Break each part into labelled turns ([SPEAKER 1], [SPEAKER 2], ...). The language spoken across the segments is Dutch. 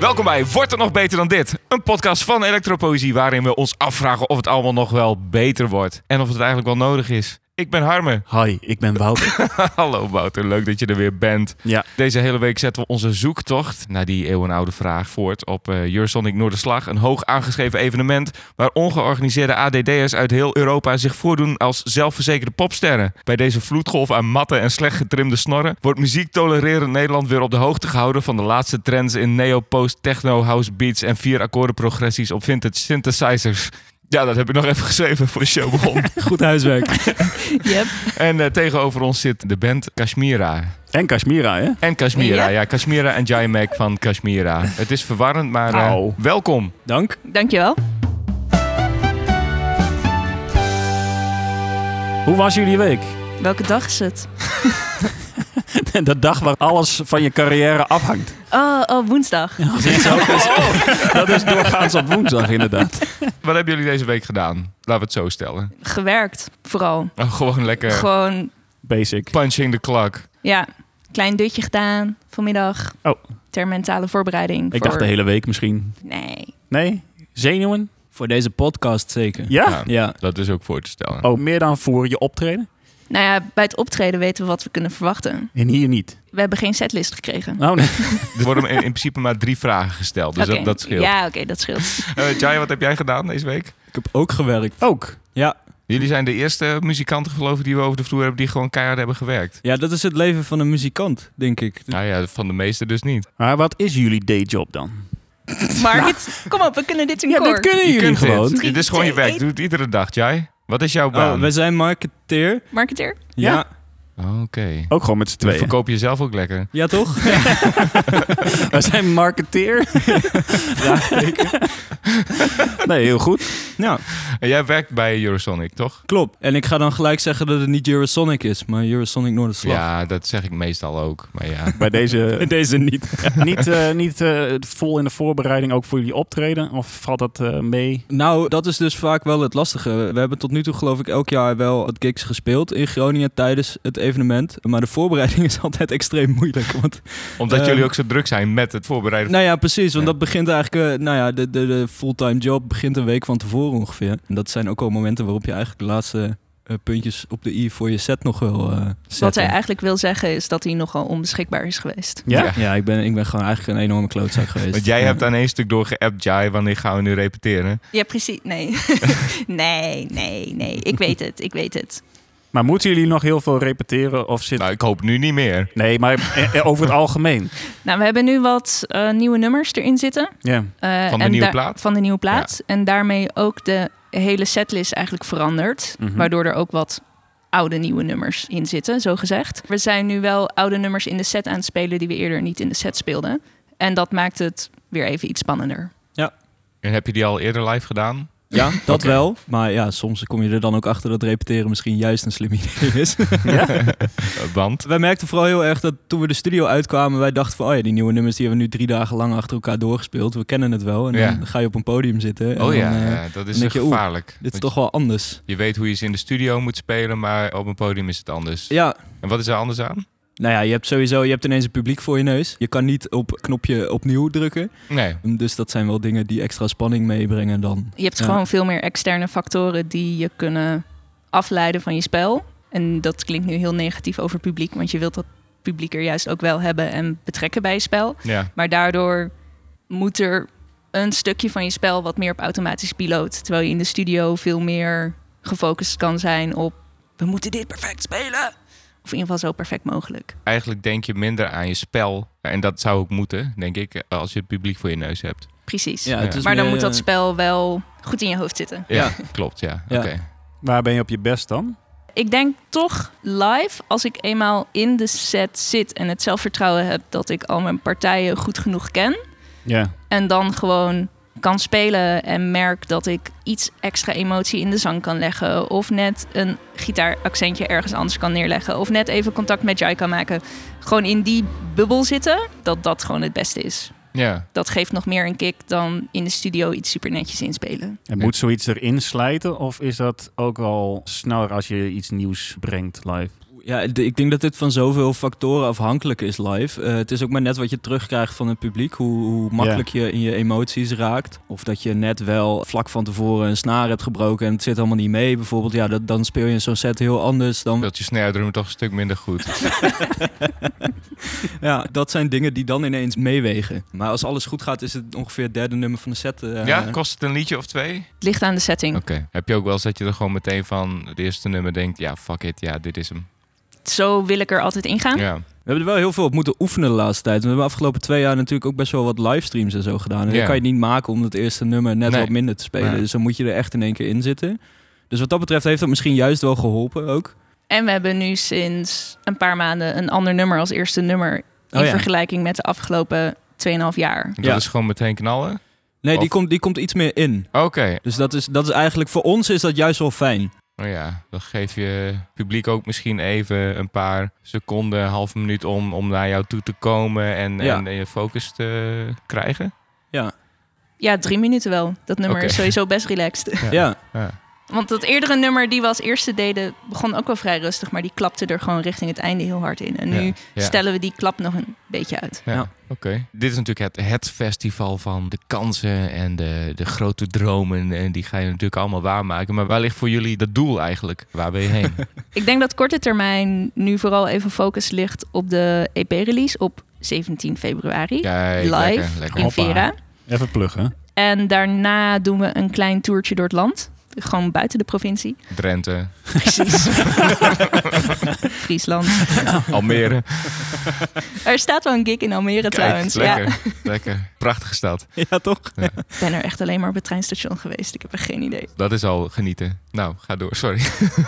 [SPEAKER 1] Welkom bij Wordt het nog beter dan dit? Een podcast van Elektropoëzie waarin we ons afvragen of het allemaal nog wel beter wordt. En of het eigenlijk wel nodig is. Ik ben Harme.
[SPEAKER 2] Hi, ik ben Wouter.
[SPEAKER 1] Hallo Wouter, leuk dat je er weer bent.
[SPEAKER 2] ja,
[SPEAKER 1] Deze hele week zetten we onze zoektocht naar die eeuwenoude vraag voort op eh Eurosonic Noorderslag. Een hoog aangeschreven evenement waar ongeorganiseerde ADD'ers uit heel Europa zich voordoen als zelfverzekerde popsterren. Bij deze vloedgolf aan matten en slecht getrimde snorren wordt muziek tolererend Nederland weer op de hoogte gehouden van de laatste trends in neo-post, techno, house beats en vier akkoorden progressies op vintage synthesizers. Ja, dat heb ik nog even geschreven voor de show begon.
[SPEAKER 2] goed huiswerk.
[SPEAKER 3] Yep.
[SPEAKER 1] en eh, tegenover ons zit de band Kashmira.
[SPEAKER 2] en Kashmira, hè?
[SPEAKER 1] En Kashmira, ja.
[SPEAKER 3] Ja.
[SPEAKER 1] Kashmira en Jai Mac van Kashmira. Het is verwarrend, maar eh,
[SPEAKER 2] Au.
[SPEAKER 1] welkom.
[SPEAKER 2] Dank.
[SPEAKER 3] Dankjewel.
[SPEAKER 2] Hoe was jullie week?
[SPEAKER 3] Welke dag is het?
[SPEAKER 2] De dag waar alles van je carrière afhangt.
[SPEAKER 3] Oh, oh woensdag.
[SPEAKER 2] Als het zo is. Dat is doorgaans op woensdag, inderdaad.
[SPEAKER 1] Wat hebben jullie deze week gedaan? Laten we het zo stellen.
[SPEAKER 3] Gewerkt, vooral.
[SPEAKER 1] Oh, gewoon lekker
[SPEAKER 3] Gewoon,
[SPEAKER 2] Basic.
[SPEAKER 1] punching the clock.
[SPEAKER 3] ja, klein dutje gedaan vanmiddag.
[SPEAKER 2] Oh.
[SPEAKER 3] Ter mentale voorbereiding.
[SPEAKER 2] Ik dacht de hele week misschien.
[SPEAKER 3] Nee.
[SPEAKER 2] Nee? Zenuwen?
[SPEAKER 4] Voor deze podcast zeker.
[SPEAKER 2] Ja?
[SPEAKER 1] Ja.
[SPEAKER 4] Ja.
[SPEAKER 1] Dat is ook voor te stellen.
[SPEAKER 2] Oh, meer dan voor je optreden?
[SPEAKER 3] Nou ja, bij het optreden weten we wat we kunnen verwachten.
[SPEAKER 2] En hier niet.
[SPEAKER 3] We hebben geen setlist gekregen.
[SPEAKER 2] Oh, nee.
[SPEAKER 1] Er worden in, in principe maar drie vragen gesteld, dus
[SPEAKER 3] Oké.
[SPEAKER 1] dat, dat scheelt.
[SPEAKER 3] Ja, oké, dat scheelt.
[SPEAKER 1] Eh, Jai, wat heb jij gedaan deze week?
[SPEAKER 4] Ik heb ook gewerkt.
[SPEAKER 2] Ook.
[SPEAKER 4] Ja.
[SPEAKER 1] Jullie zijn de eerste muzikanten geloof ik die we over de vloer hebben die gewoon keihard hebben gewerkt.
[SPEAKER 4] ja, dat is het leven van een muzikant, denk ik.
[SPEAKER 1] Nou ja, van de meesten dus niet.
[SPEAKER 2] Maar wat is jullie dayjob dan?
[SPEAKER 3] Maar dit- kom op, we kunnen dit in koor.
[SPEAKER 2] kunnen
[SPEAKER 1] Je kunt dit.
[SPEAKER 3] Drie,
[SPEAKER 1] Dit is gewoon je
[SPEAKER 3] twee,
[SPEAKER 1] werk.
[SPEAKER 3] één.
[SPEAKER 1] Doe het iedere dag, Jai. Wat is jouw
[SPEAKER 4] Oh,
[SPEAKER 1] baan?
[SPEAKER 4] we zijn marketeer.
[SPEAKER 3] Marketeer?
[SPEAKER 2] Ja.
[SPEAKER 4] Ja.
[SPEAKER 1] Oké.
[SPEAKER 2] Ook gewoon met z'n
[SPEAKER 1] Dan
[SPEAKER 2] tweeën.
[SPEAKER 1] verkoop je jezelf ook lekker.
[SPEAKER 4] Ja, toch? Ja.
[SPEAKER 2] We zijn marketeer. Nee, heel goed.
[SPEAKER 4] Nou,
[SPEAKER 1] En jij werkt bij Eurosonic, toch?
[SPEAKER 4] klopt. En ik ga dan gelijk zeggen dat het niet Eurosonic is, maar Eurosonic Noorderslag.
[SPEAKER 1] Ja, dat zeg ik meestal ook. Maar ja.
[SPEAKER 2] Bij deze
[SPEAKER 4] Deze niet.
[SPEAKER 2] niet eh, niet eh, vol in de voorbereiding ook voor jullie optreden? Of valt dat eh, mee?
[SPEAKER 4] Nou, dat is dus vaak wel het lastige. We hebben tot nu toe geloof ik elk jaar wel wat gigs gespeeld in Groningen tijdens het evenement. Maar de voorbereiding is altijd extreem moeilijk. Want
[SPEAKER 1] Omdat
[SPEAKER 4] Ehm,
[SPEAKER 1] jullie ook zo druk zijn met het voorbereiden.
[SPEAKER 4] Nou ja, precies. Want
[SPEAKER 1] Ja.
[SPEAKER 4] dat begint eigenlijk... eh, nou ja, de, de, de fulltime job begint een week van tevoren ongeveer. En dat zijn ook al momenten waarop je eigenlijk de laatste eh, puntjes op de i voor je set nog wel eh zet.
[SPEAKER 3] Wat hij eigenlijk wil zeggen is dat hij nogal onbeschikbaar is geweest.
[SPEAKER 2] Ja?
[SPEAKER 4] Ja, ik ben, ik ben gewoon eigenlijk een enorme klootzak geweest.
[SPEAKER 1] Want jij
[SPEAKER 4] Ja.
[SPEAKER 1] hebt aan één stuk doorgeappt, Jai, wanneer gaan we nu repeteren?
[SPEAKER 3] Ja, precies. Nee. nee, nee, nee. Ik weet het, ik weet het.
[SPEAKER 2] Maar moeten jullie nog heel veel repeteren? Of zit...
[SPEAKER 1] Nou, ik hoop nu niet meer.
[SPEAKER 2] Nee, maar eh, eh, over het algemeen.
[SPEAKER 3] Nou, we hebben nu wat eh, nieuwe nummers erin zitten.
[SPEAKER 2] Ja.
[SPEAKER 3] Eh,
[SPEAKER 1] Van de
[SPEAKER 3] en
[SPEAKER 1] nieuwe
[SPEAKER 3] daar-
[SPEAKER 1] plaat?
[SPEAKER 3] Van de nieuwe plaat. En daarmee ook de hele setlist eigenlijk veranderd.
[SPEAKER 2] Mhm.
[SPEAKER 3] Waardoor er ook wat oude nieuwe nummers in zitten, zo gezegd. We zijn nu wel oude nummers in de set aan het spelen die we eerder niet in de set speelden. En dat maakt het weer even iets spannender.
[SPEAKER 1] En heb je die al eerder live gedaan?
[SPEAKER 4] Ja, dat
[SPEAKER 1] Oké.
[SPEAKER 4] wel. Maar ja, soms kom je er dan ook achter dat repeteren misschien juist een slim idee is.
[SPEAKER 1] Eh, Want?
[SPEAKER 4] Wij merkten vooral heel erg dat toen we de studio uitkwamen, wij dachten van, oh ja, die nieuwe nummers die hebben we nu drie dagen lang achter elkaar doorgespeeld. We kennen het wel. En
[SPEAKER 1] Ja.
[SPEAKER 4] dan ga je op een podium zitten. en
[SPEAKER 1] Oh
[SPEAKER 4] dan,
[SPEAKER 1] ja,
[SPEAKER 4] eh,
[SPEAKER 1] ja, dat is
[SPEAKER 4] denk je, oeh,
[SPEAKER 1] gevaarlijk.
[SPEAKER 4] Dit is
[SPEAKER 1] Want
[SPEAKER 4] toch wel anders.
[SPEAKER 1] Je weet hoe je ze in de studio moet spelen, maar op een podium is het anders.
[SPEAKER 4] Ja,
[SPEAKER 1] En wat is er anders aan?
[SPEAKER 4] Nou ja, je hebt sowieso je hebt ineens een publiek voor je neus. Je kan niet op knopje opnieuw drukken.
[SPEAKER 1] Nee.
[SPEAKER 4] Dus dat zijn wel dingen die extra spanning meebrengen dan.
[SPEAKER 3] Je hebt
[SPEAKER 4] Ja.
[SPEAKER 3] gewoon veel meer externe factoren die je kunnen afleiden van je spel. En dat klinkt nu heel negatief over publiek, want je wilt dat publiek er juist ook wel hebben en betrekken bij je spel.
[SPEAKER 1] Ja.
[SPEAKER 3] Maar daardoor moet er een stukje van je spel wat meer op automatisch piloot. Terwijl je in de studio veel meer gefocust kan zijn op... we moeten dit perfect spelen. Of in ieder geval zo perfect mogelijk.
[SPEAKER 1] Eigenlijk denk je minder aan je spel. En dat zou ook moeten, denk ik, eh, als je het publiek voor je neus hebt.
[SPEAKER 3] Precies.
[SPEAKER 4] Ja, het is
[SPEAKER 3] maar dan
[SPEAKER 4] meer,
[SPEAKER 3] moet dat
[SPEAKER 4] eh,
[SPEAKER 3] spel wel goed in je hoofd zitten.
[SPEAKER 1] Ja,
[SPEAKER 4] Ja.
[SPEAKER 1] klopt, ja.
[SPEAKER 4] Ja.
[SPEAKER 1] Oké.
[SPEAKER 2] Waar ben je op je best dan?
[SPEAKER 3] Ik denk toch live, als ik eenmaal in de set zit... en het zelfvertrouwen heb dat ik al mijn partijen goed genoeg ken...
[SPEAKER 2] Ja.
[SPEAKER 3] En dan gewoon kan spelen en merk dat ik iets extra emotie in de zang kan leggen. Of net een gitaaraccentje ergens anders kan neerleggen. Of net even contact met Jai kan maken. Gewoon in die bubbel zitten, dat dat gewoon het beste is.
[SPEAKER 1] Ja.
[SPEAKER 3] Dat geeft nog meer een kick dan in de studio iets super netjes inspelen.
[SPEAKER 2] En moet zoiets erin slijten? Of is dat ook al sneller als je iets nieuws brengt live?
[SPEAKER 4] Ja, d- ik denk dat dit van zoveel factoren afhankelijk is live. Eh, het is ook maar net wat je terugkrijgt van het publiek. Hoe, hoe makkelijk je in je emoties raakt. Of dat je net wel vlak van tevoren een snaar hebt gebroken en het zit allemaal niet mee. Bijvoorbeeld, ja, dat, dan speel je zo'n set heel anders. Dan,
[SPEAKER 1] Speelt je snaredrum toch een stuk minder goed.
[SPEAKER 4] ja, dat zijn dingen die dan ineens meewegen. Maar als alles goed gaat, is het ongeveer het derde nummer van de set. eh,
[SPEAKER 1] ja, kost het een liedje of twee? Oké.
[SPEAKER 3] Het ligt aan de setting.
[SPEAKER 1] Heb je ook wel eens dat je er gewoon meteen van het eerste nummer denkt, ja, fuck it, ja, dit is hem.
[SPEAKER 3] Zo wil ik er altijd ingaan.
[SPEAKER 1] Ja.
[SPEAKER 4] We hebben er wel heel veel op moeten oefenen de laatste tijd. We hebben de afgelopen twee jaar natuurlijk ook best wel wat livestreams en zo gedaan. En
[SPEAKER 1] Ja.
[SPEAKER 4] dat kan je niet maken om dat eerste nummer net
[SPEAKER 1] Nee.
[SPEAKER 4] wat minder te spelen.
[SPEAKER 1] Nee.
[SPEAKER 4] Dus dan moet je er echt in één keer in zitten. Dus wat dat betreft heeft dat misschien juist wel geholpen ook.
[SPEAKER 3] En we hebben nu sinds een paar maanden een ander nummer als eerste nummer. In
[SPEAKER 4] Oh ja.
[SPEAKER 3] vergelijking met de afgelopen 2,5 jaar.
[SPEAKER 1] Dat
[SPEAKER 4] Ja.
[SPEAKER 1] is dus gewoon meteen knallen.
[SPEAKER 4] Nee, die
[SPEAKER 1] Of-
[SPEAKER 4] komt, die komt iets meer in.
[SPEAKER 1] Oké.
[SPEAKER 4] Dus dat is, dat is eigenlijk voor ons is dat juist wel fijn.
[SPEAKER 1] Nou ja, dan geef je publiek ook misschien even een paar seconden, half minuut om, om naar jou toe te komen en,
[SPEAKER 4] Ja.
[SPEAKER 1] en je focus te krijgen.
[SPEAKER 3] Ja, drie minuten wel. Dat nummer
[SPEAKER 1] Oké.
[SPEAKER 3] is sowieso best relaxed.
[SPEAKER 1] Ja.
[SPEAKER 4] Ja.
[SPEAKER 1] Ja.
[SPEAKER 3] Want dat eerdere nummer die we als eerste deden, begon ook wel vrij rustig. Maar die klapte er gewoon richting het einde heel hard in. En nu
[SPEAKER 1] Ja. Ja.
[SPEAKER 3] stellen we die klap nog een beetje uit.
[SPEAKER 1] Ja,
[SPEAKER 4] Ja.
[SPEAKER 1] oké. Dit is natuurlijk het, het festival van de kansen en de, de grote dromen. En die ga je natuurlijk allemaal waarmaken. Maar waar ligt voor jullie dat doel eigenlijk? Waar wil je heen?
[SPEAKER 3] Ik denk dat korte termijn nu vooral even focus ligt op de EP-release op 17 februari.
[SPEAKER 1] Kijk,
[SPEAKER 3] Live
[SPEAKER 1] lekker, lekker.
[SPEAKER 3] in
[SPEAKER 2] Hoppa.
[SPEAKER 3] Vera.
[SPEAKER 2] Even pluggen.
[SPEAKER 3] En daarna doen we een klein toertje door het land. Gewoon buiten de provincie.
[SPEAKER 1] Drenthe,
[SPEAKER 3] Precies. Friesland.
[SPEAKER 1] Almere.
[SPEAKER 3] Er staat wel een gig in Almere
[SPEAKER 1] Kijk,
[SPEAKER 3] trouwens. Ja,
[SPEAKER 1] lekker, lekker. Prachtige stad.
[SPEAKER 4] Ja, toch?
[SPEAKER 3] ik ben er echt alleen maar op het treinstation geweest. Ik heb er geen idee.
[SPEAKER 1] Dat is al genieten. Nou, ga door. Sorry.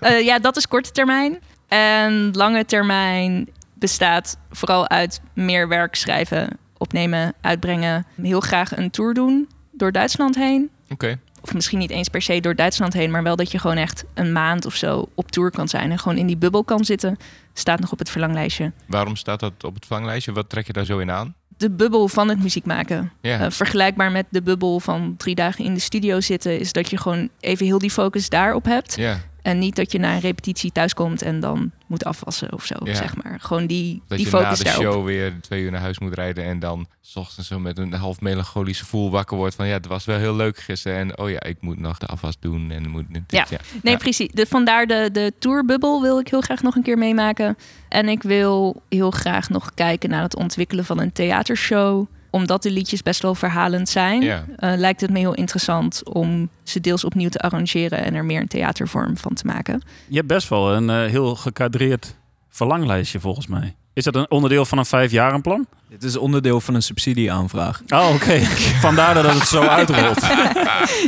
[SPEAKER 3] Eh, ja, dat is korte termijn. En lange termijn bestaat vooral uit meer werk schrijven, opnemen, uitbrengen. Heel graag een tour doen door Duitsland heen.
[SPEAKER 1] Oké.
[SPEAKER 3] Of misschien niet eens per se door Duitsland heen, maar wel dat je gewoon echt een maand of zo op tour kan zijn en gewoon in die bubbel kan zitten. Staat nog op het verlanglijstje.
[SPEAKER 1] Waarom staat dat op het vanglijstje? Wat trek je daar zo in aan?
[SPEAKER 3] De bubbel van het muziek maken.
[SPEAKER 1] Ja.
[SPEAKER 3] Eh, vergelijkbaar met de bubbel van drie dagen in de studio zitten, is dat je gewoon even heel die focus daarop hebt.
[SPEAKER 1] Ja,
[SPEAKER 3] En niet dat je na een repetitie thuiskomt en dan moet afwassen of zo,
[SPEAKER 1] Ja.
[SPEAKER 3] zeg maar. Gewoon die,
[SPEAKER 1] dat
[SPEAKER 3] die
[SPEAKER 1] je na
[SPEAKER 3] focus
[SPEAKER 1] de
[SPEAKER 3] daarop.
[SPEAKER 1] show weer twee uur naar huis moet rijden en dan 's ochtends zo met een half melancholische voel wakker wordt van ja, het was wel heel leuk gisteren en oh ja, ik moet nog de afwas doen en moet dit,
[SPEAKER 3] Ja. Nee,
[SPEAKER 1] Ja.
[SPEAKER 3] precies. De, vandaar de, de tourbubbel wil ik heel graag nog een keer meemaken. En ik wil heel graag nog kijken naar het ontwikkelen van een theatershow. Omdat de liedjes best wel verhalend zijn,
[SPEAKER 1] Ja.
[SPEAKER 3] eh, lijkt het me heel interessant om ze deels opnieuw te arrangeren en er meer een theatervorm van te maken.
[SPEAKER 2] Je hebt best wel een eh, heel gekadreerd verlanglijstje volgens mij. Is dat een onderdeel van een vijfjarenplan?
[SPEAKER 4] Dit is onderdeel van een subsidieaanvraag.
[SPEAKER 2] Oh, oké. Vandaar dat het zo uitrolt.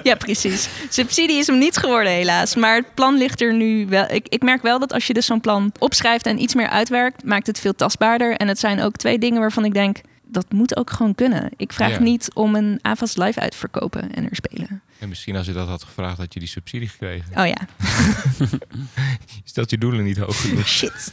[SPEAKER 3] Ja, precies. Subsidie is hem niet geworden, helaas. Maar het plan ligt er nu wel. Ik, ik merk wel dat als je dus zo'n plan opschrijft en iets meer uitwerkt, maakt het veel tastbaarder. En het zijn ook twee dingen waarvan ik denk. Dat moet ook gewoon kunnen. Ik vraag
[SPEAKER 1] Ja.
[SPEAKER 3] niet om een AFAS live uitverkopen en er spelen.
[SPEAKER 1] En misschien als je dat had gevraagd, had je die subsidie gekregen.
[SPEAKER 3] Oh ja,
[SPEAKER 1] Je stelt je doelen niet hoog genoeg.
[SPEAKER 3] shit.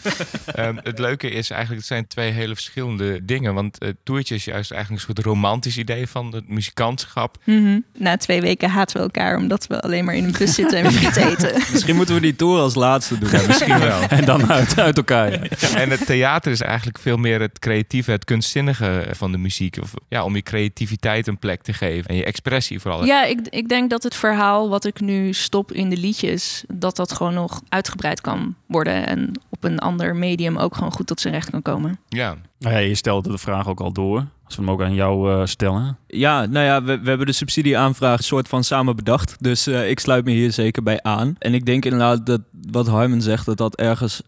[SPEAKER 1] Ehm, het leuke is eigenlijk, het zijn twee hele verschillende dingen. Want eh toertje is juist eigenlijk een soort romantisch idee van het muzikantschap.
[SPEAKER 3] Mhm. Na twee weken haten we elkaar omdat we alleen maar in een bus zitten en friet eten.
[SPEAKER 4] Misschien moeten we die tour als laatste doen.
[SPEAKER 1] Misschien wel.
[SPEAKER 2] En dan uit, uit elkaar. ja.
[SPEAKER 1] En het theater is eigenlijk veel meer het creatieve, het kunstzinnige eh, van de muziek. Of, ja, om je creativiteit een plek te geven. En je expressie vooral.
[SPEAKER 3] Ja, ik, ik denk dat het verhaal wat ik nu stop in de liedjes, dat dat gewoon nog uitgebreid kan worden. En op een ander medium ook gewoon goed tot zijn recht kan komen.
[SPEAKER 1] Ja.
[SPEAKER 2] Nou ja, je stelde de vraag ook al door. Als we hem ook aan jou eh, stellen.
[SPEAKER 4] Ja, nou ja, we, we hebben de subsidieaanvraag soort van samen bedacht. Dus eh, ik sluit me hier zeker bij aan. En ik denk inderdaad dat wat Harmon zegt, dat dat ergens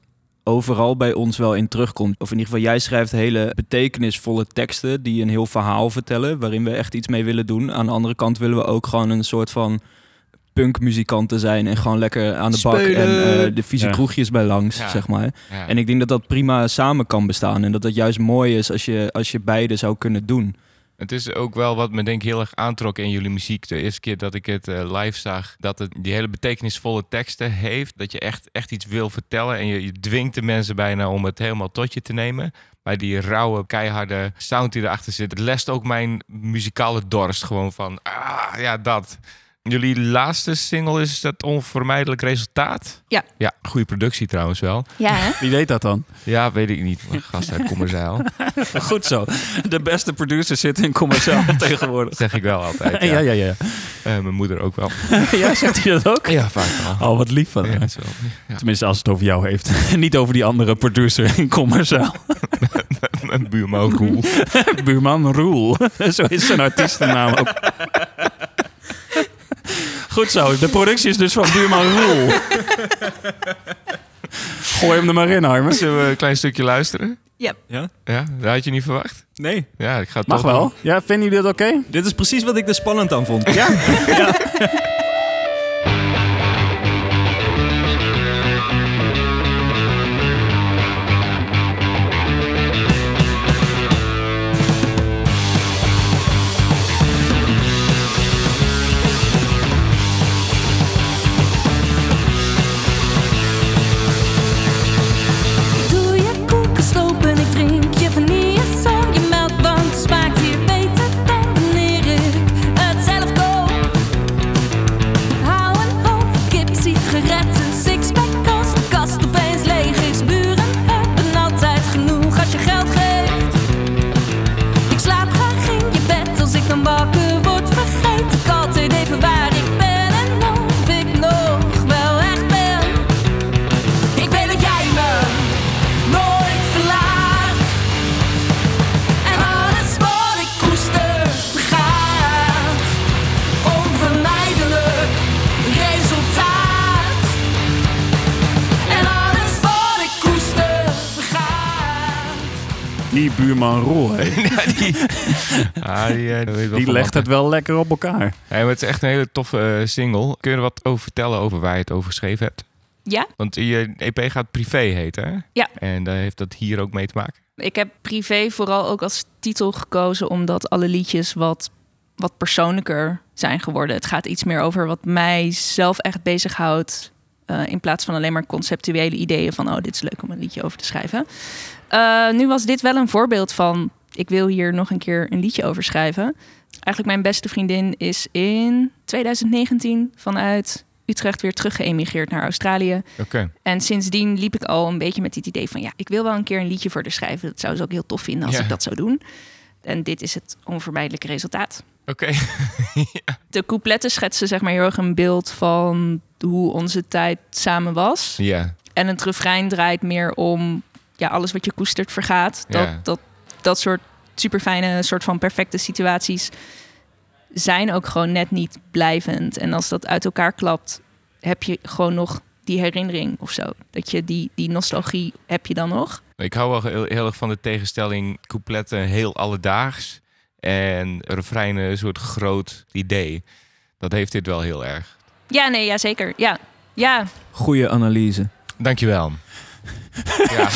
[SPEAKER 4] overal bij ons wel in terugkomt. Of in ieder geval, jij schrijft hele betekenisvolle teksten die een heel verhaal vertellen, waarin we echt iets mee willen doen. Aan de andere kant willen we ook gewoon een soort van punkmuzikanten zijn en gewoon lekker aan de bak en
[SPEAKER 1] Spelen.
[SPEAKER 4] eh, de vieze
[SPEAKER 2] Ja.
[SPEAKER 4] kroegjes bij langs,
[SPEAKER 1] Ja.
[SPEAKER 4] zeg maar.
[SPEAKER 1] ja.
[SPEAKER 4] En ik denk dat dat prima samen kan bestaan en dat dat juist mooi is als je, als je beide zou kunnen doen.
[SPEAKER 1] Het is ook wel wat me denk ik heel erg aantrok in jullie muziek. De eerste keer dat ik het eh, live zag, dat het die hele betekenisvolle teksten heeft. Dat je echt, echt iets wil vertellen en je, je dwingt de mensen bijna om het helemaal tot je te nemen. Maar die rauwe, keiharde sound die erachter zit, het lest ook mijn muzikale dorst gewoon van, ah, ja, dat. Jullie laatste single is dat onvermijdelijk resultaat?
[SPEAKER 3] Ja.
[SPEAKER 1] Ja, goede productie trouwens wel.
[SPEAKER 3] Ja, hè?
[SPEAKER 2] Wie weet dat dan?
[SPEAKER 1] Ja, weet ik niet. Een gast uit Kommerzeil.
[SPEAKER 2] Goed zo. De beste producer zit in commercieel
[SPEAKER 1] Dat
[SPEAKER 2] tegenwoordig.
[SPEAKER 1] zeg ik wel altijd. Ja.
[SPEAKER 2] Ja, ja, ja.
[SPEAKER 1] Eh, mijn moeder ook wel.
[SPEAKER 2] Ja, zegt hij dat ook?
[SPEAKER 1] Ja, vaak wel.
[SPEAKER 2] Oh, wat lief van
[SPEAKER 1] Ja,
[SPEAKER 2] hem.
[SPEAKER 1] dat is wel- ja.
[SPEAKER 2] Tenminste, als het over jou heeft. Niet over die andere producer in commercieel.
[SPEAKER 1] Mijn buurman Roel.
[SPEAKER 2] Buurman Roel. Zo is zijn artiestennaam ook. Goed zo. De productie is dus van Buurman Roel. Gooi hem er maar in, Armin.
[SPEAKER 1] Zullen we Eh, een klein stukje luisteren?
[SPEAKER 3] Ja.
[SPEAKER 4] Ja?
[SPEAKER 1] Ja, dat had je niet verwacht.
[SPEAKER 4] Nee,
[SPEAKER 1] Ja, ik ga het
[SPEAKER 2] Mag
[SPEAKER 1] toch
[SPEAKER 2] wel.
[SPEAKER 1] doen.
[SPEAKER 2] Ja, vinden jullie dat oké?
[SPEAKER 4] dit is precies wat ik er spannend aan vond. Ja.
[SPEAKER 5] Doe je koekensloop en ik drink je vanillesang. Je melk, want het smaakt hier beter dan wanneer ik het zelf koop. Hou een hoofd, kip, sigaretten, sixpack als de kast opeens leeg is. Buren hebben altijd genoeg als je geld geeft. Ik slaap graag in je bed als ik dan wakker word. Vergeet ik altijd even waar ik ben en of ik nog wel echt ben. Ik weet dat jij me nooit verlaat. En alles wat ik koester gaat. Onvermijdelijk resultaat. En alles wat ik koester gaat.
[SPEAKER 2] Die Buurman Roel, hè.
[SPEAKER 1] Ja, die ah, die, eh, weet wel
[SPEAKER 2] die
[SPEAKER 1] van
[SPEAKER 2] legt
[SPEAKER 1] wat.
[SPEAKER 2] het wel lekker op elkaar.
[SPEAKER 1] Hey, maar het is echt een hele toffe eh, single. Kun je er wat over vertellen over waar je het over geschreven hebt?
[SPEAKER 3] ja.
[SPEAKER 1] Want je EP gaat privé heten, hè?
[SPEAKER 3] Ja.
[SPEAKER 1] En daar heeft dat hier ook mee te maken?
[SPEAKER 3] Ik heb privé vooral ook als titel gekozen omdat alle liedjes wat, wat persoonlijker zijn geworden. Het gaat iets meer over wat mij zelf echt bezighoudt. eh, in plaats van alleen maar conceptuele ideeën van, oh, dit is leuk om een liedje over te schrijven. Eh, nu was dit wel een voorbeeld van, ik wil hier nog een keer een liedje over schrijven. Eigenlijk mijn beste vriendin is in 2019 vanuit Utrecht weer teruggeëmigreerd naar Australië.
[SPEAKER 1] Oké.
[SPEAKER 3] En sindsdien liep ik al een beetje met het idee van ja, ik wil wel een keer een liedje voor haar schrijven. Dat zou ze ook heel tof vinden als
[SPEAKER 1] Ja.
[SPEAKER 3] ik dat zou doen. En dit is het onvermijdelijke resultaat.
[SPEAKER 1] Oké.
[SPEAKER 3] De coupletten schetsen zeg maar heel erg een beeld van hoe onze tijd samen was.
[SPEAKER 1] Ja.
[SPEAKER 3] En het refrein draait meer om ja, alles wat je koestert vergaat. Dat,
[SPEAKER 1] Ja.
[SPEAKER 3] dat, dat soort superfijne, soort van perfecte situaties zijn ook gewoon net niet blijvend. En als dat uit elkaar klapt, heb je gewoon nog die herinnering of zo. Dat je die, die nostalgie heb je dan nog.
[SPEAKER 1] Ik hou wel heel, heel erg van de tegenstelling coupletten heel alledaags en refreinen een eh, soort groot idee. Dat heeft dit wel heel erg.
[SPEAKER 3] Ja, nee, ja, zeker. Ja, ja.
[SPEAKER 4] Goeie analyse.
[SPEAKER 1] Dankjewel. ja.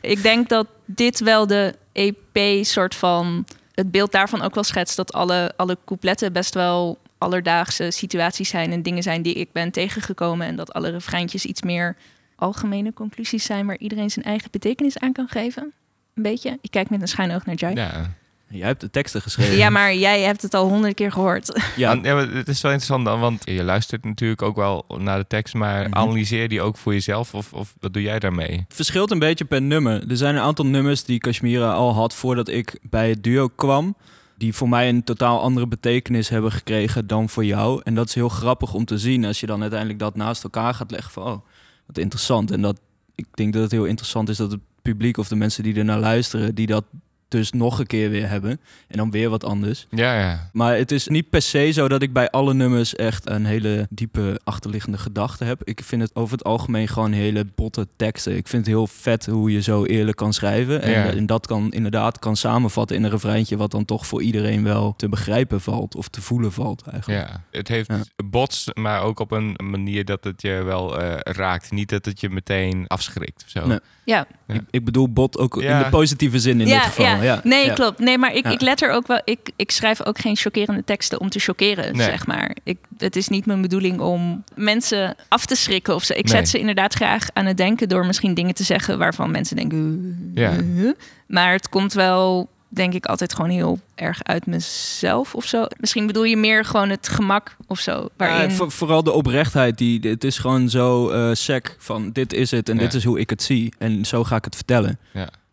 [SPEAKER 3] Ik denk dat dit wel de EP soort van het beeld daarvan ook wel schetst dat alle, alle coupletten best wel alledaagse situaties zijn en dingen zijn die ik ben tegengekomen en dat alle refreintjes iets meer algemene conclusies zijn waar iedereen zijn eigen betekenis aan kan geven. Een beetje. Ik kijk met een schuin oog naar Jai. Ja.
[SPEAKER 1] ja.
[SPEAKER 4] Jij hebt de teksten geschreven.
[SPEAKER 3] maar jij hebt het al honderd keer gehoord.
[SPEAKER 1] Ja.
[SPEAKER 4] ja.
[SPEAKER 1] maar het is wel interessant dan, want je luistert natuurlijk ook wel naar de tekst, maar
[SPEAKER 4] Mhm.
[SPEAKER 1] analyseer die ook voor jezelf of, of wat doe jij daarmee?
[SPEAKER 4] verschilt een beetje per nummer. Er zijn een aantal nummers die Kashmira al had voordat ik bij het duo kwam. Die voor mij een totaal andere betekenis hebben gekregen dan voor jou. En dat is heel grappig om te zien als je dan uiteindelijk dat naast elkaar gaat leggen. Van, oh, wat interessant. En dat, ik denk dat het heel interessant is dat het publiek of de mensen die ernaar luisteren, die dat dus nog een keer weer hebben. En dan weer wat anders.
[SPEAKER 1] Ja, ja.
[SPEAKER 4] Maar het is niet per se zo dat ik bij alle nummers echt een hele diepe achterliggende gedachte heb. Ik vind het over het algemeen gewoon hele botte teksten. Ik vind het heel vet hoe je zo eerlijk kan schrijven. En,
[SPEAKER 1] Ja.
[SPEAKER 4] en dat kan inderdaad kan samenvatten in een refreintje wat dan toch voor iedereen wel te begrijpen valt. Of te voelen valt eigenlijk.
[SPEAKER 1] ja. Het heeft
[SPEAKER 4] Ja.
[SPEAKER 1] bots, maar ook op een manier dat het je wel eh, raakt. Niet dat het je meteen afschrikt of zo.
[SPEAKER 4] Nee.
[SPEAKER 3] Ja.
[SPEAKER 1] Ja.
[SPEAKER 4] Ik, ik bedoel bot ook
[SPEAKER 1] Ja.
[SPEAKER 4] in de positieve zin in dit geval. Ja.
[SPEAKER 3] Nee,
[SPEAKER 4] Ja.
[SPEAKER 3] klopt. Nee, maar ik,
[SPEAKER 4] Ja.
[SPEAKER 3] ik let er ook wel. Ik, ik schrijf ook geen chockerende teksten om te chockeren,
[SPEAKER 1] Nee.
[SPEAKER 3] zeg maar. Ik, het is niet mijn bedoeling om mensen af te schrikken of zo. Ik
[SPEAKER 1] Nee.
[SPEAKER 3] zet ze inderdaad graag aan het denken door misschien dingen te zeggen waarvan mensen denken. "Uh,
[SPEAKER 1] Ja.
[SPEAKER 3] uh." Maar het komt wel denk ik altijd gewoon heel erg uit mezelf of zo. Misschien bedoel je meer gewoon het gemak of zo. Waarin...
[SPEAKER 4] Ja, voor- vooral de oprechtheid. Die, het is gewoon zo eh sec van dit is het en
[SPEAKER 1] Ja.
[SPEAKER 4] dit is hoe ik het zie. En zo ga ik het vertellen.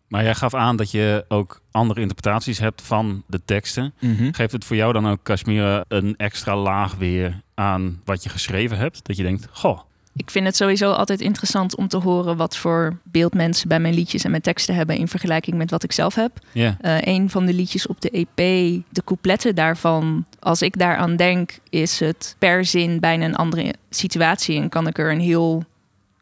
[SPEAKER 2] Maar jij gaf aan dat je ook andere interpretaties hebt van de teksten.
[SPEAKER 1] Mhm.
[SPEAKER 2] Geeft het voor jou dan ook, Kashmira, een extra laag weer aan wat je geschreven hebt? Dat je denkt, goh,
[SPEAKER 3] Ik vind het sowieso altijd interessant om te horen wat voor beeld mensen bij mijn liedjes en mijn teksten hebben in vergelijking met wat ik zelf heb.
[SPEAKER 2] ja.
[SPEAKER 3] Eh, een van de liedjes op de EP, de coupletten daarvan, als ik daaraan denk, is het per zin bijna een andere situatie. En kan ik er een heel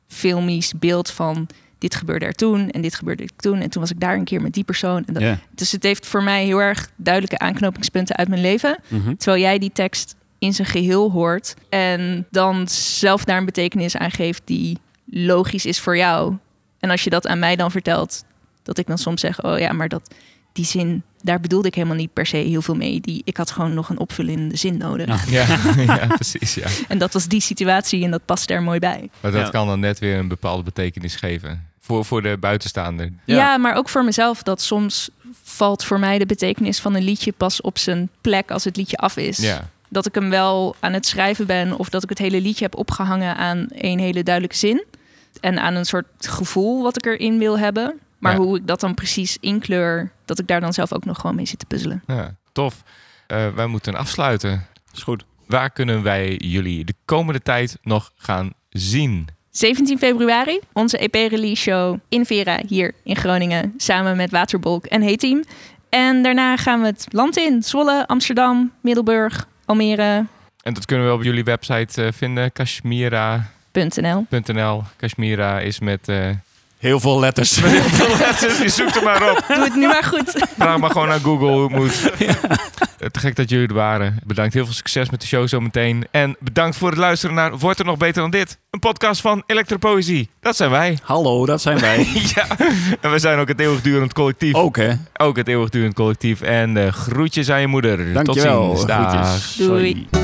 [SPEAKER 3] filmisch beeld van. Dit gebeurde er toen en dit gebeurde er toen. En toen was ik daar een keer met die persoon. En dat-
[SPEAKER 2] ja.
[SPEAKER 3] Dus het heeft voor mij heel erg duidelijke aanknopingspunten uit mijn leven.
[SPEAKER 2] Mhm.
[SPEAKER 3] Terwijl jij die tekst in zijn geheel hoort. En dan zelf daar een betekenis aan geeft die logisch is voor jou. En als je dat aan mij dan vertelt, dat ik dan soms zeg: Oh ja, maar dat, die zin, daar bedoelde ik helemaal niet per se heel veel mee. Die, ik had gewoon nog een opvullende zin nodig.
[SPEAKER 2] Ja.
[SPEAKER 1] Ja, ja, precies. Ja.
[SPEAKER 3] En dat was die situatie en dat past er mooi bij.
[SPEAKER 1] Maar dat
[SPEAKER 4] Ja.
[SPEAKER 1] kan dan net weer een bepaalde betekenis geven. Voor, voor de buitenstaander.
[SPEAKER 4] Ja.
[SPEAKER 3] Ja. maar ook voor mezelf. Dat soms valt voor mij de betekenis van een liedje pas op zijn plek als het liedje af is.
[SPEAKER 1] Ja,
[SPEAKER 3] dat ik hem wel aan het schrijven ben of dat ik het hele liedje heb opgehangen aan een hele duidelijke zin en aan een soort gevoel wat ik erin wil hebben. Maar
[SPEAKER 1] Ja.
[SPEAKER 3] hoe ik dat dan precies inkleur, dat ik daar dan zelf ook nog gewoon mee zit te puzzelen.
[SPEAKER 1] ja. tof. Eh, wij moeten afsluiten.
[SPEAKER 2] Is goed.
[SPEAKER 1] Waar kunnen wij jullie de komende tijd nog gaan zien?
[SPEAKER 3] 17 februari, onze EP-release show in Vera hier in Groningen samen met Waterbolk en Hey Team. En daarna gaan we het land in, Zwolle, Amsterdam, Middelburg, Almere.nl.
[SPEAKER 1] En dat kunnen we op jullie website eh, vinden, kashmira.nl. Kashmira is met... eh,
[SPEAKER 2] Heel veel letters.
[SPEAKER 1] veel letters, je zoekt er maar op.
[SPEAKER 3] Doe het nu maar goed.
[SPEAKER 1] Vraag maar gewoon aan Google hoe het moet. Eh, Te gek dat jullie er waren. Bedankt. Heel veel succes met de show zometeen. En bedankt voor het luisteren naar Wordt er nog beter dan dit? Een podcast van Elektropoëzie. Dat zijn wij.
[SPEAKER 2] Hallo, dat zijn wij.
[SPEAKER 1] ja. En we zijn ook het eeuwigdurend collectief.
[SPEAKER 2] ook, hè?
[SPEAKER 1] Ook het eeuwigdurend collectief. En eh, groetjes aan je moeder.
[SPEAKER 2] Dankjewel.
[SPEAKER 1] Tot ziens. Dag.
[SPEAKER 2] Groetjes.
[SPEAKER 3] Doei.
[SPEAKER 2] Sorry.